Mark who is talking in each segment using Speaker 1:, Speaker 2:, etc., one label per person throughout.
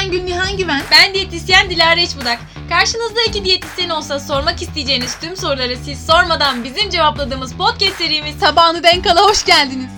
Speaker 1: ben Gülnihan Güven.
Speaker 2: Ben diyetisyen Dilara Eşbudak. Karşınızda iki diyetisyen olsa sormak isteyeceğiniz tüm soruları siz sormadan bizim cevapladığımız podcast serimiz
Speaker 1: Tabağını denk ala hoş geldiniz.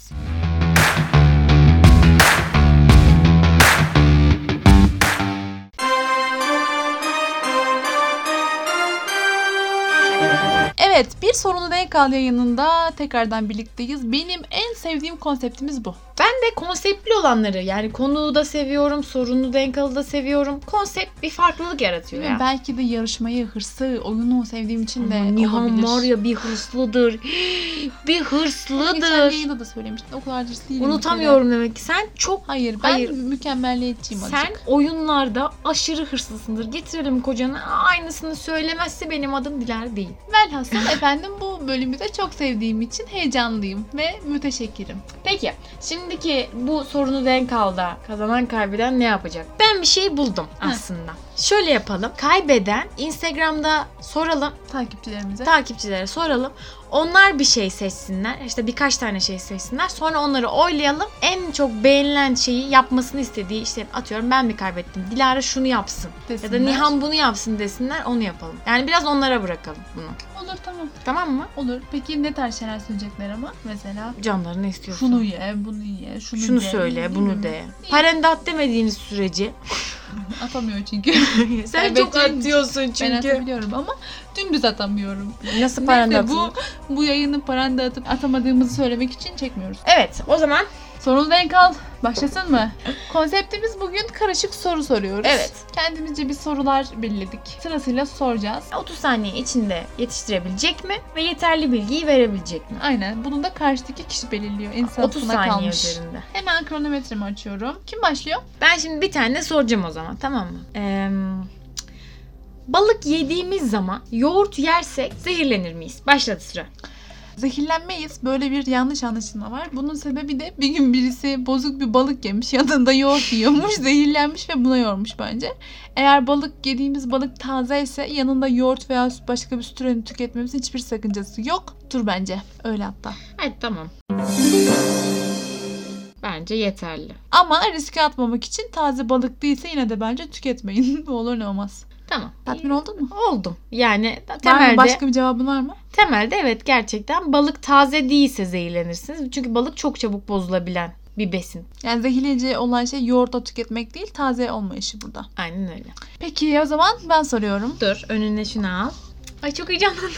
Speaker 1: Evet, bir sorunu denk al yayınında tekrardan birlikteyiz. Benim en sevdiğim konseptimiz bu.
Speaker 3: Ben de konseptli olanları yani konuğu da seviyorum, sorunu denk alı da seviyorum. Konsept bir farklılık yaratıyor
Speaker 1: Bilmiyorum,
Speaker 3: ya.
Speaker 1: Belki de yarışmayı, hırsı, oyunu sevdiğim için de
Speaker 3: Ama Nihan
Speaker 1: olabilir.
Speaker 3: var ya bir hırslıdır. bir
Speaker 1: Geçen
Speaker 3: hırslıdır.
Speaker 1: yayında da söylemiştin. O kadar hırslı değilim bir
Speaker 3: Unutamıyorum demek ki. Sen çok
Speaker 1: kere. Hayır, ben
Speaker 3: Hayır.
Speaker 1: mükemmelliyetçiyim
Speaker 3: sen
Speaker 1: azıcık.
Speaker 3: oyunlarda aşırı hırslısındır. Getirelim kocanı. Aynısını söylemezse benim adım Diler değil.
Speaker 1: Velhasıl efendim bu bölümü de çok sevdiğim için heyecanlıyım ve müteşekkirim.
Speaker 3: Peki şimdiki bu sorunu denk al da kazanan kaybeden ne yapacak? Ben bir şey buldum aslında. Şöyle yapalım. Kaybeden Instagram'da soralım.
Speaker 1: Takipçilerimize.
Speaker 3: takipçilere soralım. Onlar bir şey seçsinler. İşte birkaç tane şey seçsinler. Sonra onları oylayalım. En çok beğenilen şeyi yapmasını istediği işte atıyorum ben mi kaybettim? Dilara şunu yapsın. Ya da
Speaker 1: desinler.
Speaker 3: Nihan bunu yapsın desinler. Onu yapalım. Yani biraz onlara bırakalım bunu.
Speaker 1: Olur tamam.
Speaker 3: Tamam mı?
Speaker 1: Olur. Peki ne tarz şeyler söyleyecekler ama? Mesela
Speaker 3: Canları ne istiyorsun?
Speaker 1: şunu ye, bunu ye, şunu,
Speaker 3: Şunu
Speaker 1: de.
Speaker 3: söyle, bunu de.
Speaker 1: İyi.
Speaker 3: Parendat demediğiniz sürece.
Speaker 1: Atamıyor çünkü.
Speaker 3: Sen çok
Speaker 1: Kaybedeceğim için.
Speaker 3: atıyorsun
Speaker 1: Ben
Speaker 3: çünkü.
Speaker 1: atabiliyorum ama dümdüz atamıyorum.
Speaker 3: Nasıl
Speaker 1: Neyse
Speaker 3: parendat?
Speaker 1: bu, bu yayını paranda atıp atamadığımızı söylemek için çekmiyoruz.
Speaker 3: Evet, o zaman
Speaker 1: Sorunu denk al. Başlasın mı? Konseptimiz bugün karışık soru soruyoruz.
Speaker 3: Evet.
Speaker 1: Kendimizce bir sorular belirledik. Sırasıyla soracağız.
Speaker 3: 30 saniye içinde yetiştirebilecek mi ve yeterli bilgiyi verebilecek mi?
Speaker 1: Aynen. Bunu da karşıdaki kişi belirliyor. İnsan
Speaker 3: 30
Speaker 1: 30
Speaker 3: saniye
Speaker 1: kalmış.
Speaker 3: üzerinde.
Speaker 1: Hemen kronometremi açıyorum. Kim başlıyor?
Speaker 3: Ben şimdi bir tane soracağım o zaman tamam mı? Ee, balık yediğimiz zaman yoğurt yersek zehirlenir miyiz? Başladı sıra.
Speaker 1: Zehirlenmeyiz. Böyle bir yanlış anlaşılma var. Bunun sebebi de bir gün birisi bozuk bir balık yemiş. Yanında yoğurt yiyormuş. zehirlenmiş ve buna yormuş bence. Eğer balık yediğimiz balık taze ise yanında yoğurt veya süt- başka bir süt türünü tüketmemizin hiçbir sakıncası yok. Dur bence. Öyle hatta.
Speaker 3: Evet tamam. Bence yeterli.
Speaker 1: Ama riske atmamak için taze balık değilse yine de bence tüketmeyin. Bu olur ne olmaz.
Speaker 3: Tamam.
Speaker 1: Tatmin oldun mu?
Speaker 3: Oldum. Yani
Speaker 1: Var mı?
Speaker 3: temelde
Speaker 1: Başka bir cevabın var mı?
Speaker 3: temelde evet gerçekten balık taze değilse zehirlenirsiniz. Çünkü balık çok çabuk bozulabilen bir besin.
Speaker 1: Yani zehirleyici olan şey yoğurda tüketmek değil taze olmayışı burada.
Speaker 3: Aynen öyle.
Speaker 1: Peki o zaman ben soruyorum.
Speaker 3: Dur önüne şunu al. Ay çok heyecanlandım.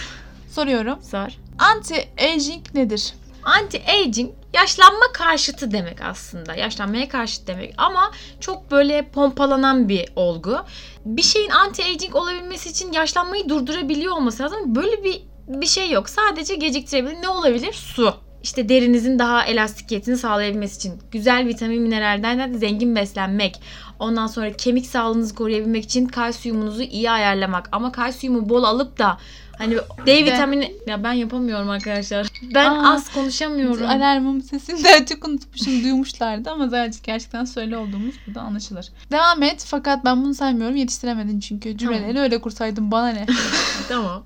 Speaker 1: Soruyorum.
Speaker 3: Sor.
Speaker 1: Anti-aging nedir?
Speaker 3: Anti-aging yaşlanma karşıtı demek aslında. Yaşlanmaya karşıt demek ama çok böyle pompalanan bir olgu. Bir şeyin anti-aging olabilmesi için yaşlanmayı durdurabiliyor olması lazım. Böyle bir bir şey yok. Sadece geciktirebilir. Ne olabilir? Su. İşte derinizin daha elastikiyetini sağlayabilmesi için güzel vitamin mineralden de zengin beslenmek. Ondan sonra kemik sağlığınızı koruyabilmek için kalsiyumunuzu iyi ayarlamak. Ama kalsiyumu bol alıp da hani D vitamini ya ben yapamıyorum arkadaşlar. Ben
Speaker 1: Aa.
Speaker 3: az konuşamıyorum.
Speaker 1: Alarmım sesini de çok unutmuşum duymuşlardı ama zaten gerçekten söyle olduğumuz burada anlaşılır. Devam et fakat ben bunu saymıyorum yetiştiremedin çünkü cümleleri öyle kursaydın bana ne?
Speaker 3: tamam.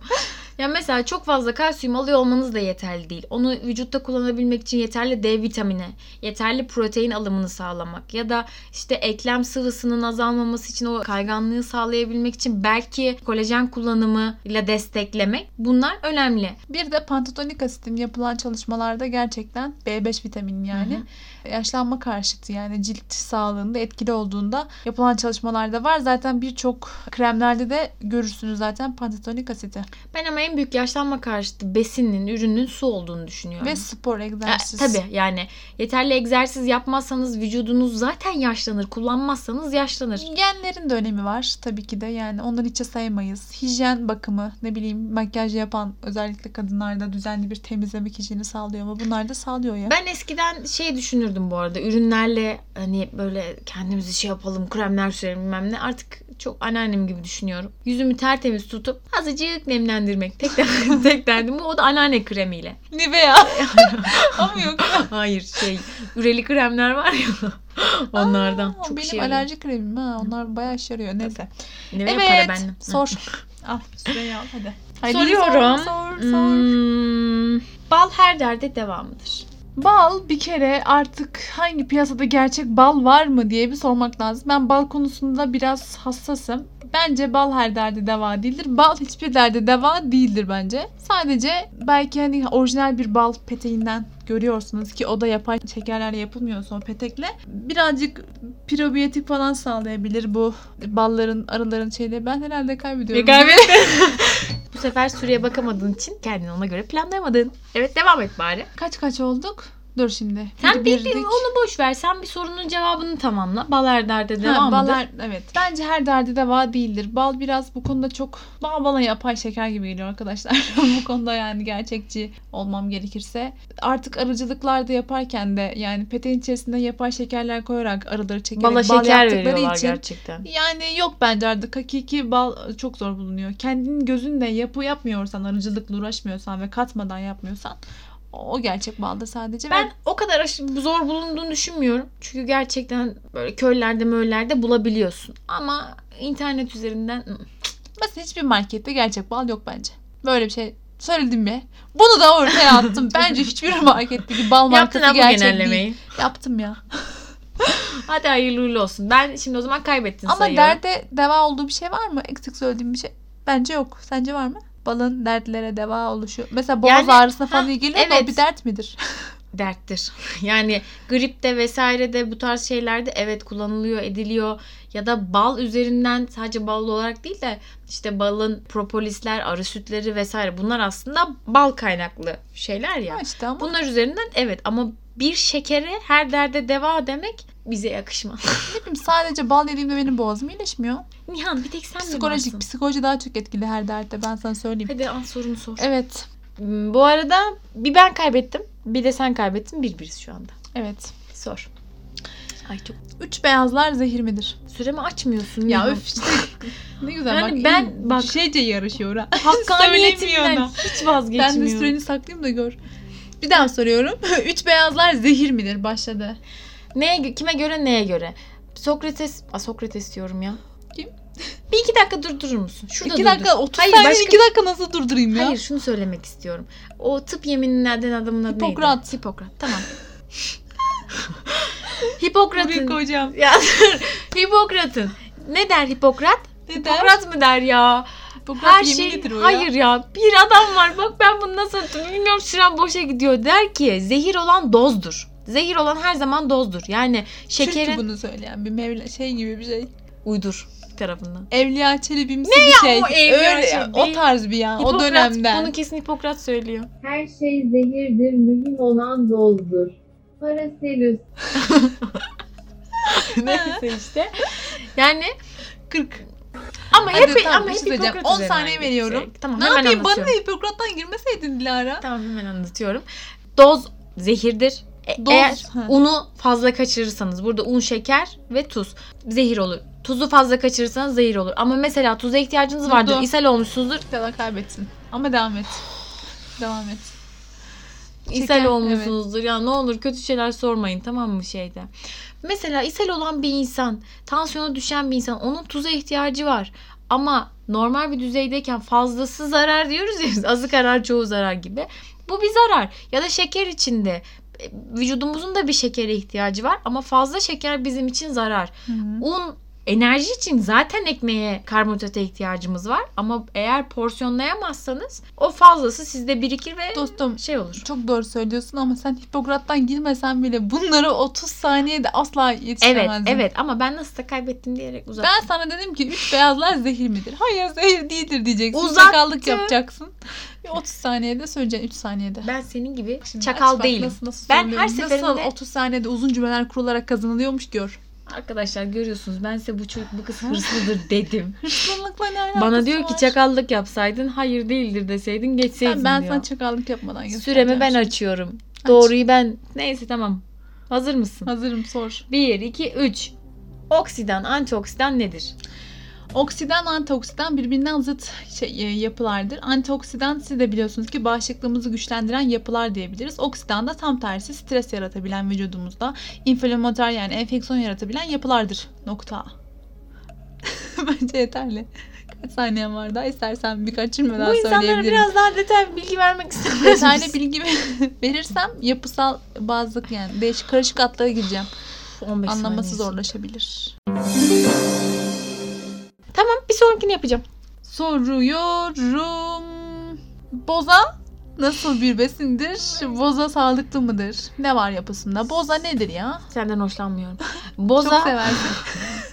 Speaker 3: Ya mesela çok fazla kalsiyum alıyor olmanız da yeterli değil. Onu vücutta kullanabilmek için yeterli D vitamini, yeterli protein alımını sağlamak ya da işte eklem sıvısının azalmaması için o kayganlığı sağlayabilmek için belki kolajen kullanımı ile desteklemek bunlar önemli.
Speaker 1: Bir de pantotenik asitin yapılan çalışmalarda gerçekten B5 vitamini yani yaşlanma karşıtı yani cilt sağlığında etkili olduğunda yapılan çalışmalarda var. Zaten birçok kremlerde de görürsünüz zaten pantotenik asiti
Speaker 3: Ben ama en büyük yaşlanma karşıtı besinin, ürünün su olduğunu düşünüyorum.
Speaker 1: ve spor egzersiz.
Speaker 3: Tabi tabii yani yeterli egzersiz yapmazsanız vücudunuz zaten yaşlanır. Kullanmazsanız yaşlanır.
Speaker 1: Genlerin de önemi var tabii ki de yani onları hiçe saymayız. Hijyen bakımı ne bileyim makyaj yapan özellikle kadınlarda düzenli bir temizlemek hijyeni sağlıyor ama bunlar da sağlıyor ya.
Speaker 3: Ben eskiden şey düşünürdüm bu arada ürünlerle hani böyle kendimizi şey yapalım kremler sürelim bilmem ne artık çok anneannem gibi düşünüyorum. Yüzümü tertemiz tutup azıcık nemlendirmek tek, der- tek derdim bu o da anneanne kremiyle.
Speaker 1: Nivea. ama yok.
Speaker 3: Hayır şey üreli kremler var ya onlardan
Speaker 1: Aa,
Speaker 3: çok
Speaker 1: benim
Speaker 3: şey alerji...
Speaker 1: alerji kremim ha onlar bayağı işe yarıyor neyse.
Speaker 3: Ne
Speaker 1: Evet.
Speaker 3: para benden.
Speaker 1: Sor. al. Süreyi al hadi. Haydi
Speaker 3: Soruyorum.
Speaker 1: Sor, sor, sor.
Speaker 3: Hmm, bal her derde devamıdır.
Speaker 1: Bal bir kere artık hangi piyasada gerçek bal var mı diye bir sormak lazım. Ben bal konusunda biraz hassasım. Bence bal her derde deva değildir. Bal hiçbir derde deva değildir bence. Sadece belki hani orijinal bir bal peteğinden görüyorsunuz ki o da yapay şekerlerle yapılmıyorsa o petekle birazcık probiyotik falan sağlayabilir bu balların arıların şeyleri. Ben herhalde kaybediyorum.
Speaker 3: Bu sefer süreye bakamadığın için kendini ona göre planlayamadın. Evet devam et bari.
Speaker 1: Kaç kaç olduk? Dur şimdi.
Speaker 3: Sen
Speaker 1: Biri
Speaker 3: bildin
Speaker 1: birdik.
Speaker 3: onu boş ver. Sen bir sorunun cevabını tamamla. Bal Erder'de
Speaker 1: Ha,
Speaker 3: devam
Speaker 1: bal
Speaker 3: mıdır?
Speaker 1: her- evet. Bence her derdi deva değildir. Bal biraz bu konuda çok bana bana yapay şeker gibi geliyor arkadaşlar. bu konuda yani gerçekçi olmam gerekirse. Artık arıcılıklarda yaparken de yani peteğin içerisinde yapay şekerler koyarak arıları çekerek
Speaker 3: Bala
Speaker 1: bal
Speaker 3: şeker
Speaker 1: yaptıkları
Speaker 3: veriyorlar
Speaker 1: için.
Speaker 3: gerçekten.
Speaker 1: Yani yok bence artık hakiki bal çok zor bulunuyor. Kendin gözünle yapı yapmıyorsan, arıcılıkla uğraşmıyorsan ve katmadan yapmıyorsan o o gerçek balda sadece. ve
Speaker 3: Ben o kadar aş- zor bulunduğunu düşünmüyorum. Çünkü gerçekten böyle köylerde möllerde bulabiliyorsun. Ama internet üzerinden ı,
Speaker 1: Mesela hiçbir markette gerçek bal yok bence. Böyle bir şey söyledim mi? Bunu da ortaya attım. bence hiçbir marketteki bal
Speaker 3: yaptın
Speaker 1: markası
Speaker 3: ha bu
Speaker 1: gerçek değil.
Speaker 3: genellemeyi.
Speaker 1: Yaptım ya.
Speaker 3: Hadi hayırlı uğurlu olsun. Ben şimdi o zaman kaybettin
Speaker 1: Ama
Speaker 3: sayıyorum.
Speaker 1: derde deva olduğu bir şey var mı? Eksik söylediğim bir şey. Bence yok. Sence var mı? Balın dertlere deva oluşu. Mesela boğaz
Speaker 3: Yani-
Speaker 1: ağrısına falan iyi geliyor da o
Speaker 3: evet.
Speaker 1: bir dert midir?
Speaker 3: derttir. Yani gripte vesaire de bu tarz şeylerde evet kullanılıyor, ediliyor. Ya da bal üzerinden sadece bal olarak değil de işte balın propolisler, arı sütleri vesaire bunlar aslında bal kaynaklı şeyler ya.
Speaker 1: Ha işte ama.
Speaker 3: Bunlar üzerinden evet ama bir şekere her derde deva demek bize yakışmaz.
Speaker 1: Ne bileyim, sadece bal yediğimde benim boğazım iyileşmiyor.
Speaker 3: Nihan bir tek sen mi
Speaker 1: Psikolojik,
Speaker 3: varsın?
Speaker 1: psikoloji daha çok etkili her dertte ben sana söyleyeyim.
Speaker 3: Hadi al sorunu sor.
Speaker 1: Evet.
Speaker 3: Hmm, Bu arada bir ben kaybettim bir de sen kaybettin birbiriz şu anda.
Speaker 1: Evet.
Speaker 3: Sor. Ay çok
Speaker 1: Üç beyazlar zehir midir?
Speaker 3: süremi açmıyorsun.
Speaker 1: Ya
Speaker 3: Nihan.
Speaker 1: öf işte ne güzel
Speaker 3: Yani
Speaker 1: bak.
Speaker 3: ben-
Speaker 1: iyi,
Speaker 3: bak-
Speaker 1: şeyce yarışıyor ha. Söylemiyor
Speaker 3: Hakkaniyetinden
Speaker 1: ona.
Speaker 3: hiç
Speaker 1: Ben
Speaker 3: vazgeçmiyorum.
Speaker 1: de süreni saklayayım da gör. Bir daha soruyorum. Üç beyazlar zehir midir? Başladı.
Speaker 3: Neye, kime göre neye göre? Sokrates, a, Sokrates diyorum ya.
Speaker 1: Kim?
Speaker 3: Bir iki dakika durdurur musun? Şurada
Speaker 1: iki
Speaker 3: durdur.
Speaker 1: dakika 30
Speaker 3: Hayır,
Speaker 1: saniye
Speaker 3: başka-
Speaker 1: iki dakika nasıl durdurayım ya?
Speaker 3: Hayır şunu söylemek istiyorum. O tıp yeminlerden adamın adı neydi?
Speaker 1: Hipokrat.
Speaker 3: Hipokrat. Tamam.
Speaker 1: Buraya
Speaker 3: Hipokrat'ın.
Speaker 1: koyacağım.
Speaker 3: ya dur. Hipokrat'ın. Ne der Hipokrat?
Speaker 1: Neden?
Speaker 3: Hipokrat mı der ya?
Speaker 1: Hipokrat
Speaker 3: Her
Speaker 1: yeminlidir
Speaker 3: şey.
Speaker 1: o ya.
Speaker 3: Hayır ya. Bir adam var. Bak ben bunu nasıl hatırlıyorum. Bilmiyorum sürem boşa gidiyor. Der ki zehir olan dozdur. Zehir olan her zaman dozdur. Yani şekerin
Speaker 1: Çünkü bunu söyleyen bir mevla şey gibi bir şey.
Speaker 3: uydur tarafından.
Speaker 1: Evliya Çelebi'msi bir şey.
Speaker 3: o Evliya
Speaker 1: Öyle,
Speaker 3: Çelebi?
Speaker 1: o tarz bir ya. o dönemden.
Speaker 3: Bunu kesin Hipokrat söylüyor.
Speaker 4: Her şey zehirdir, mühim olan dozdur. Paracelsus
Speaker 3: Neyse işte. Yani 40. Ama
Speaker 1: Hadi
Speaker 3: hep
Speaker 1: tamam,
Speaker 3: ama
Speaker 1: bir
Speaker 3: hep
Speaker 1: şey söyleyeceğim.
Speaker 3: Hipokrat
Speaker 1: 10
Speaker 3: üzerinden
Speaker 1: saniye
Speaker 3: gidecek.
Speaker 1: veriyorum.
Speaker 3: şey. Tamam
Speaker 1: ne
Speaker 3: hemen
Speaker 1: yapayım? Bana
Speaker 3: anlatıyorum.
Speaker 1: ne Hipokrat'tan girmeseydin Dilara.
Speaker 3: Tamam hemen anlatıyorum. Doz zehirdir. E-
Speaker 1: Doz,
Speaker 3: Eğer
Speaker 1: ha.
Speaker 3: unu fazla kaçırırsanız burada un, şeker ve tuz zehir olur. Tuzu fazla kaçırırsanız zehir olur. Ama mesela tuza ihtiyacınız vardır.
Speaker 1: Durdu.
Speaker 3: ishal olmuşsunuzdur.
Speaker 1: Kadar kaybetsin. Ama devam et. Devam et.
Speaker 3: İshal
Speaker 1: Şeker,
Speaker 3: olmuşsunuzdur. Ya ne olur kötü şeyler sormayın tamam mı şeyde. Mesela ishal olan bir insan, tansiyonu düşen bir insan onun tuza ihtiyacı var. Ama normal bir düzeydeyken fazlası zarar diyoruz ya biz, azı karar çoğu zarar gibi. Bu bir zarar. Ya da şeker içinde e, vücudumuzun da bir şekere ihtiyacı var ama fazla şeker bizim için zarar.
Speaker 1: Hı.
Speaker 3: Un enerji için zaten ekmeğe karbonhidrata ihtiyacımız var ama eğer porsiyonlayamazsanız o fazlası sizde birikir ve
Speaker 1: Dostum
Speaker 3: şey olur.
Speaker 1: çok doğru söylüyorsun ama sen Hipokrat'tan girmesen bile bunları 30 saniyede asla
Speaker 3: Evet,
Speaker 1: yetişemezdin.
Speaker 3: evet ama ben nasıl da kaybettim diyerek uzattım.
Speaker 1: Ben sana dedim ki üç beyazlar zehir midir? Hayır zehir değildir diyeceksin.
Speaker 3: Uzattı.
Speaker 1: Çakallık yapacaksın. Bir 30 saniyede söyleyeceksin 3 saniyede.
Speaker 3: Ben, senin gibi
Speaker 1: Şimdi aç
Speaker 3: çakal
Speaker 1: bak
Speaker 3: değilim.
Speaker 1: Nasıl, nasıl
Speaker 3: Ben her
Speaker 1: söylüyorum. Nasıl
Speaker 3: seferinde-
Speaker 1: 30 saniyede uzun cümleler kurularak kazanılıyormuş gör.
Speaker 3: Arkadaşlar görüyorsunuz ben size bu çocuk bu kız hırslıdır dedim.
Speaker 1: Hırsızlıkla ne alakası
Speaker 3: Bana diyor
Speaker 1: var?
Speaker 3: ki çakallık yapsaydın hayır değildir deseydin geçseydin
Speaker 1: Ben, ben
Speaker 3: diyor.
Speaker 1: sana çakallık yapmadan göstereceğim.
Speaker 3: Süremi ben
Speaker 1: şimdi.
Speaker 3: açıyorum. Doğruyu ben. Neyse tamam. Hazır mısın?
Speaker 1: Hazırım sor.
Speaker 3: 1, 2, 3. Oksidan, antioksidan nedir?
Speaker 1: Oksidan, antioksidan birbirinden zıt şey, e, yapılardır. Antioksidan siz de biliyorsunuz ki bağışıklığımızı güçlendiren yapılar diyebiliriz. Oksidan da tam tersi stres yaratabilen vücudumuzda inflamatuar yani enfeksiyon yaratabilen yapılardır. Nokta. Bence yeterli. Kaç saniyen var daha istersen birkaç cümle daha
Speaker 3: Bu insanlara
Speaker 1: söyleyebilirim.
Speaker 3: biraz daha detaylı bilgi vermek istiyorum.
Speaker 1: Detaylı bilgi verirsem yapısal bazlık yani değişik karışık atlara gireceğim.
Speaker 3: 15
Speaker 1: Anlaması
Speaker 3: saniyesi.
Speaker 1: zorlaşabilir.
Speaker 3: Tamam bir sonrakini yapacağım.
Speaker 1: Soruyorum. Boza nasıl bir besindir? Boza sağlıklı mıdır? Ne var yapısında? Boza nedir ya?
Speaker 3: Senden hoşlanmıyorum.
Speaker 1: Çok
Speaker 3: Boza,
Speaker 1: seversin.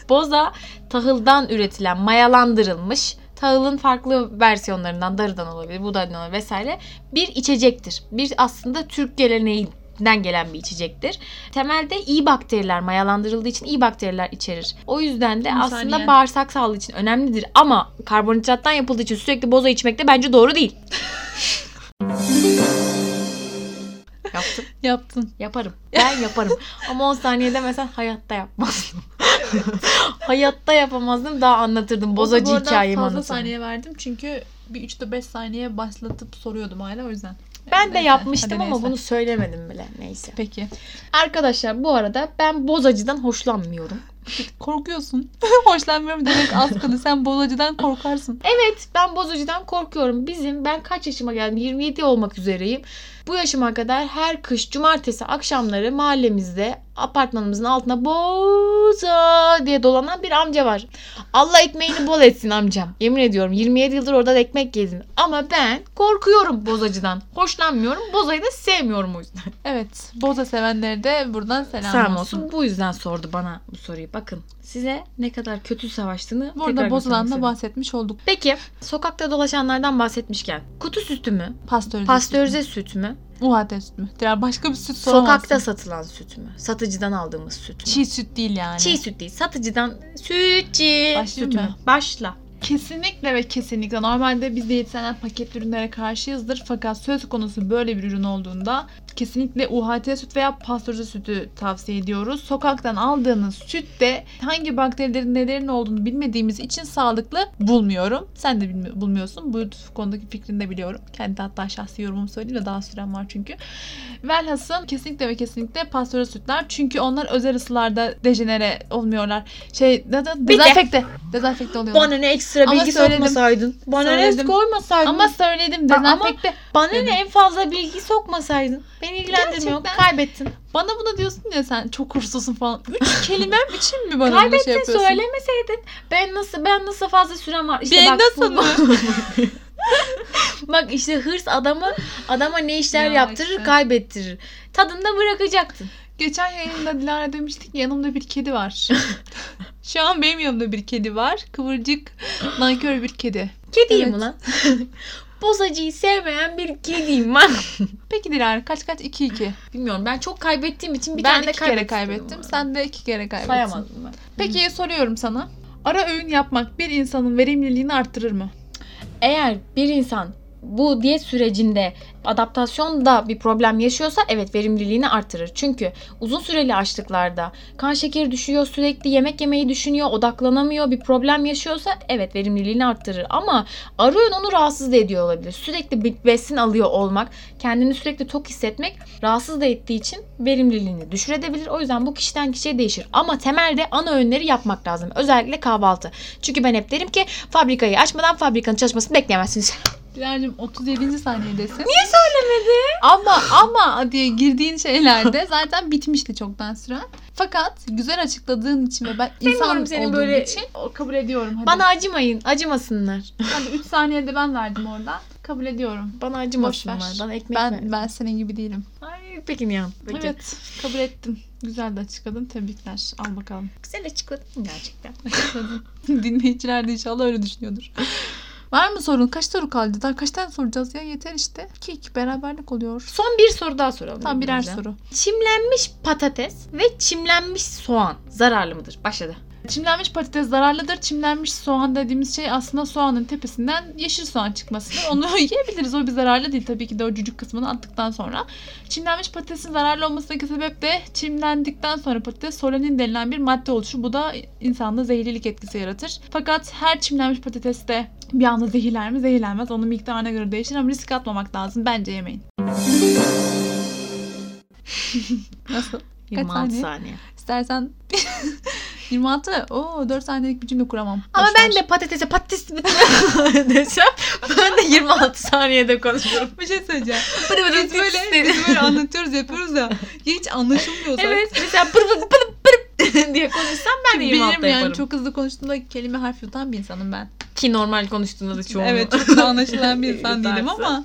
Speaker 3: boza tahıldan üretilen, mayalandırılmış, tahılın farklı versiyonlarından, darıdan olabilir, buğdaydan olabilir vesaire bir içecektir. Bir aslında Türk geleneğinden gelen bir içecektir. Temelde iyi bakteriler mayalandırıldığı için iyi bakteriler içerir. O yüzden de
Speaker 1: Bunu
Speaker 3: aslında
Speaker 1: söyleyen.
Speaker 3: bağırsak sağlığı için önemlidir ama karbonhidrattan yapıldığı için sürekli boza içmek de bence doğru değil. Yaptım.
Speaker 1: Yaptın.
Speaker 3: Yaparım. Ben yaparım. Ama 10 saniye demesen hayatta yapmazdım. hayatta yapamazdım. Daha anlatırdım. Bozacı
Speaker 1: Bu arada
Speaker 3: hikayemi
Speaker 1: fazla
Speaker 3: anlatırdım.
Speaker 1: saniye verdim çünkü bir 3-5 saniye başlatıp soruyordum hala o yüzden.
Speaker 3: Ben de
Speaker 1: Neyse,
Speaker 3: yapmıştım
Speaker 1: hadi
Speaker 3: ama
Speaker 1: neyse.
Speaker 3: bunu söylemedim bile. Neyse.
Speaker 1: Peki.
Speaker 3: Arkadaşlar bu arada ben bozacıdan hoşlanmıyorum.
Speaker 1: Korkuyorsun. Hoşlanmıyorum demek az kaldı. Sen bozacıdan korkarsın.
Speaker 3: Evet ben bozacıdan korkuyorum. Bizim ben kaç yaşıma geldim? 27 olmak üzereyim. Bu yaşıma kadar her kış cumartesi akşamları mahallemizde apartmanımızın altına boza diye dolanan bir amca var. Allah ekmeğini bol etsin amcam. Yemin ediyorum 27 yıldır orada da ekmek yedim. Ama ben korkuyorum bozacıdan. Hoşlanmıyorum. Bozayı da sevmiyorum o yüzden.
Speaker 1: Evet. Boza sevenlere de buradan selam,
Speaker 3: Selam
Speaker 1: olsun.
Speaker 3: olsun. Bu yüzden sordu bana bu soruyu. Bakın size ne kadar kötü savaştığını tekrar
Speaker 1: Burada bozulan
Speaker 3: göstermek
Speaker 1: da
Speaker 3: istedim.
Speaker 1: bahsetmiş olduk.
Speaker 3: Peki sokakta dolaşanlardan bahsetmişken kutu sütü mü?
Speaker 1: Pastörize.
Speaker 3: Pastörize süt mü?
Speaker 1: sütü. UHT sütü mü? Diğer başka bir süt soramazsın.
Speaker 3: Sokakta satılan süt mü? Satıcıdan aldığımız süt mü?
Speaker 1: Çiğ süt değil yani.
Speaker 3: Çiğ süt değil. Satıcıdan sütçi
Speaker 1: Başlayayım
Speaker 3: süt mü?
Speaker 1: mı?
Speaker 3: Başla.
Speaker 1: Kesinlikle ve kesinlikle. Normalde biz diyetisyenler paketli ürünlere karşıyızdır. Fakat söz konusu böyle bir ürün olduğunda kesinlikle UHT süt veya pastörize sütü tavsiye ediyoruz. Sokaktan aldığınız sütte hangi bakterilerin nelerin olduğunu bilmediğimiz için sağlıklı bulmuyorum. Sen de bilmi- bulmuyorsun. Bu konudaki fikrini de biliyorum. Kendi hatta şahsi yorumumu söyleyeyim de daha sürem var çünkü. Velhasıl kesinlikle ve kesinlikle pastörize sütler. Çünkü onlar özel ısılarda dejenere olmuyorlar. Şey, ne- ne-
Speaker 3: Bir de-
Speaker 1: dezenfekte. Dezenfekte oluyorlar.
Speaker 3: Bana ne ekstra
Speaker 1: Ama
Speaker 3: bilgi
Speaker 1: söyledim.
Speaker 3: sokmasaydın. Bana ne
Speaker 1: Söyledim.
Speaker 3: koymasaydın.
Speaker 1: Ama söyledim
Speaker 3: Aa, ama-
Speaker 1: dezenfekte.
Speaker 3: bana ne en fazla bilgi sokmasaydın. Beni ilgilendirmiyor.
Speaker 1: Gerçekten.
Speaker 3: Kaybettin.
Speaker 1: Bana bunu diyorsun ya sen çok hırsızsın falan. Üç kelimem için mi bana bunu
Speaker 3: Kaybettin
Speaker 1: şey yapıyorsun?
Speaker 3: söylemeseydin. Ben nasıl ben nasıl fazla sürem var. İşte
Speaker 1: Ben
Speaker 3: bak,
Speaker 1: nasıl
Speaker 3: bu- bak işte hırs adamı adama ne işler
Speaker 1: Ya
Speaker 3: yaptırır
Speaker 1: işte.
Speaker 3: kaybettirir. Tadında bırakacaktın.
Speaker 1: Geçen yayında Dilara demiştik ki yanımda bir kedi var. Şu an benim yanımda bir kedi var. Kıvırcık, nankör bir kedi.
Speaker 3: Kediyim
Speaker 1: Evet.
Speaker 3: ulan. Bozacıyı sevmeyen bir kediyim ben.
Speaker 1: Peki Dilara kaç kaç? 2 2.
Speaker 3: Bilmiyorum ben çok kaybettiğim için bir
Speaker 1: ben
Speaker 3: tane de
Speaker 1: iki kere
Speaker 3: kaybettim.
Speaker 1: kaybettim. Sen de iki kere kaybettin.
Speaker 3: sayamadım ben.
Speaker 1: Peki soruyorum sana. Ara öğün yapmak bir insanın verimliliğini arttırır mı?
Speaker 3: Eğer bir insan bu diyet sürecinde adaptasyonda bir problem yaşıyorsa evet verimliliğini artırır. Çünkü uzun süreli açlıklarda kan şekeri düşüyor, sürekli yemek yemeyi düşünüyor, odaklanamıyor, bir problem yaşıyorsa evet verimliliğini arttırır. Ama ara öğün onu rahatsız da ediyor olabilir. Sürekli bir besin alıyor olmak, kendini sürekli tok hissetmek rahatsız da ettiği için verimliliğini düşürebilir. O yüzden bu kişiden kişiye değişir. Ama temelde ana öğünleri yapmak lazım. Özellikle kahvaltı. Çünkü ben hep derim ki fabrikayı açmadan fabrikanın çalışmasını bekleyemezsiniz.
Speaker 1: Dilara'cığım 37. saniyedesin. Niye söylemedi? Ama ama diye girdiğin şeylerde zaten bitmişti çoktan süren. Fakat güzel açıkladığın için ve ben insan olduğum için kabul ediyorum. Hadi.
Speaker 3: Bana acımayın, acımasınlar.
Speaker 1: Hadi 3 saniyede ben verdim orada. Kabul ediyorum.
Speaker 3: Bana
Speaker 1: Boş
Speaker 3: acımasınlar.
Speaker 1: ver.
Speaker 3: Bana ekmek ver.
Speaker 1: Ben ben senin gibi değilim.
Speaker 3: Ay peki Nihan. Peki.
Speaker 1: Evet, kabul ettim. Güzel de açıkladın. Tebrikler. Al bakalım.
Speaker 3: Güzel açıkladın gerçekten.
Speaker 1: Açıkladın. Dinleyiciler de inşallah öyle düşünüyordur. Var mı sorun? Kaç soru kaldı? Daha kaç tane soracağız ya? Yeter işte. 2-2 beraberlik oluyor.
Speaker 3: Son bir soru daha soralım.
Speaker 1: Tam birer
Speaker 3: birbirimize.
Speaker 1: soru.
Speaker 3: Çimlenmiş patates ve çimlenmiş soğan zararlı mıdır? Başladı.
Speaker 1: Çimlenmiş patates zararlıdır. Çimlenmiş soğan dediğimiz şey aslında soğanın tepesinden yeşil soğan çıkmasıdır. Onu yiyebiliriz. O bir zararlı değil tabii ki de o cücük kısmını attıktan sonra. Çimlenmiş patatesin zararlı olmasındaki sebep de çimlendikten sonra patates solenin denilen bir madde oluşu. Bu da insanda zehirlilik etkisi yaratır. Fakat her çimlenmiş patates de bir anda zehirler mi zehirlenmez. Onun miktarına göre değişir ama risk atmamak lazım. Bence yemeyin. Nasıl? Kaç
Speaker 3: 26
Speaker 1: saniye?
Speaker 3: saniye.
Speaker 1: İstersen 26. Oo 4 saniyelik bir cümle kuramam.
Speaker 3: Ama
Speaker 1: Boş ver.
Speaker 3: ben de patatese patates desem ben de 26 saniyede konuşurum.
Speaker 1: bir şey söyleyeceğim.
Speaker 3: Pırı pırı
Speaker 1: Biz böyle, biz böyle anlatıyoruz yapıyoruz da hiç anlaşılmıyor zaten.
Speaker 3: Evet mesela pır pır pır pır diye konuşsam ben de
Speaker 1: Benim
Speaker 3: 26
Speaker 1: yani
Speaker 3: yaparım.
Speaker 1: çok hızlı konuştuğumda kelime harf yutan bir insanım ben.
Speaker 3: Ki normal konuştuğunda da çoğunluğu.
Speaker 1: Evet çok da anlaşılan bir insan
Speaker 3: Yutarsa.
Speaker 1: değilim ama.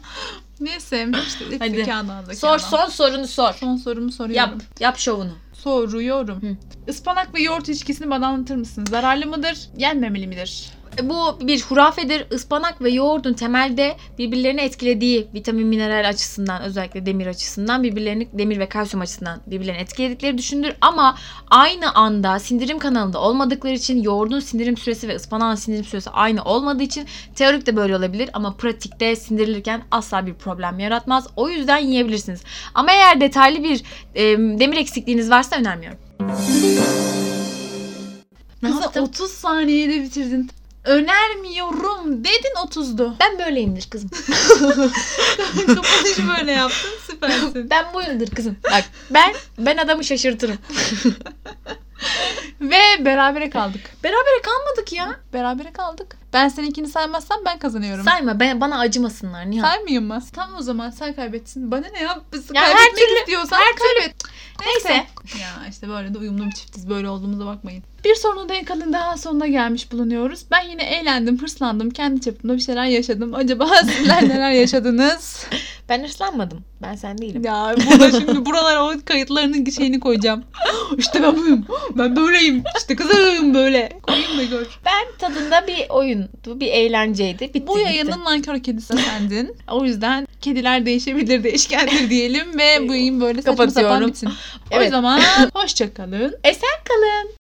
Speaker 1: Neyse işte
Speaker 3: Hadi.
Speaker 1: zekadan zekadan.
Speaker 2: Sor son sorunu sor.
Speaker 1: Son sorumu soruyorum.
Speaker 2: Yap, yap şovunu.
Speaker 1: Soruyorum.
Speaker 3: Hı.
Speaker 1: Ispanak ve yoğurt ilişkisini bana anlatır mısın? Zararlı mıdır? Yenmemeli midir?
Speaker 3: E, Bu bir hurafedir. Ispanak ve yoğurdun temelde birbirlerini etkilediği vitamin mineral açısından özellikle demir açısından birbirlerini demir ve kalsiyum açısından birbirlerini etkiledikleri düşünülür. Ama aynı anda sindirim kanalında olmadıkları için yoğurdun sindirim süresi ve ıspanağın sindirim süresi aynı olmadığı için teorik de böyle olabilir ama pratikte sindirilirken asla bir problem yaratmaz. O yüzden yiyebilirsiniz. Ama eğer detaylı bir e, demir eksikliğiniz varsa önermiyorum. Ne
Speaker 1: Kızım
Speaker 3: yaptım?
Speaker 1: 30 saniyede bitirdin. Önermiyorum dedin 30'du.
Speaker 3: Ben böyleyimdir kızım.
Speaker 1: Kapanışı böyle yaptın süpersin.
Speaker 3: Ben buyumdur kızım. Bak ben ben adamı şaşırtırım.
Speaker 1: Ve berabere kaldık.
Speaker 3: Berabere kalmadık ya.
Speaker 1: Berabere kaldık. Ben seninkini saymazsam ben kazanıyorum.
Speaker 3: Sayma ben, bana acımasınlar Nihan.
Speaker 1: Saymıyor mu? Tamam o zaman sen kaybetsin. Bana ne ya? Biz
Speaker 3: Ya her
Speaker 1: kaybetmek
Speaker 3: türlü-
Speaker 1: istiyorsan kaybet.
Speaker 3: Neyse.
Speaker 1: Ya işte böyle de uyumlu bir çiftiz. Böyle olduğumuza bakmayın. Bir sorunun da yakalın daha sonuna gelmiş bulunuyoruz. Ben yine eğlendim, hırslandım. Kendi çapımda bir şeyler yaşadım. Acaba sizler neler yaşadınız?
Speaker 3: Ben hırslanmadım. Ben sen değilim.
Speaker 1: ya burada şimdi buralara o kayıtlarının şeyini koyacağım. işte ben buyum. Ben böyleyim. İşte kızım böyle. Koyayım da gör.
Speaker 3: Ben tadında bir oyundu, bir eğlenceydi. Bitti,
Speaker 1: Bu
Speaker 3: gitti.
Speaker 1: yayının nankör kedisi sendin. O yüzden kediler değişebilir, değişkendir diyelim ve bu yayın böyle saçma sapan
Speaker 3: Şey, Kapatıyorum.
Speaker 1: bitsin. O
Speaker 3: Evet.
Speaker 1: zaman hoşça kalın.
Speaker 3: E Kalın.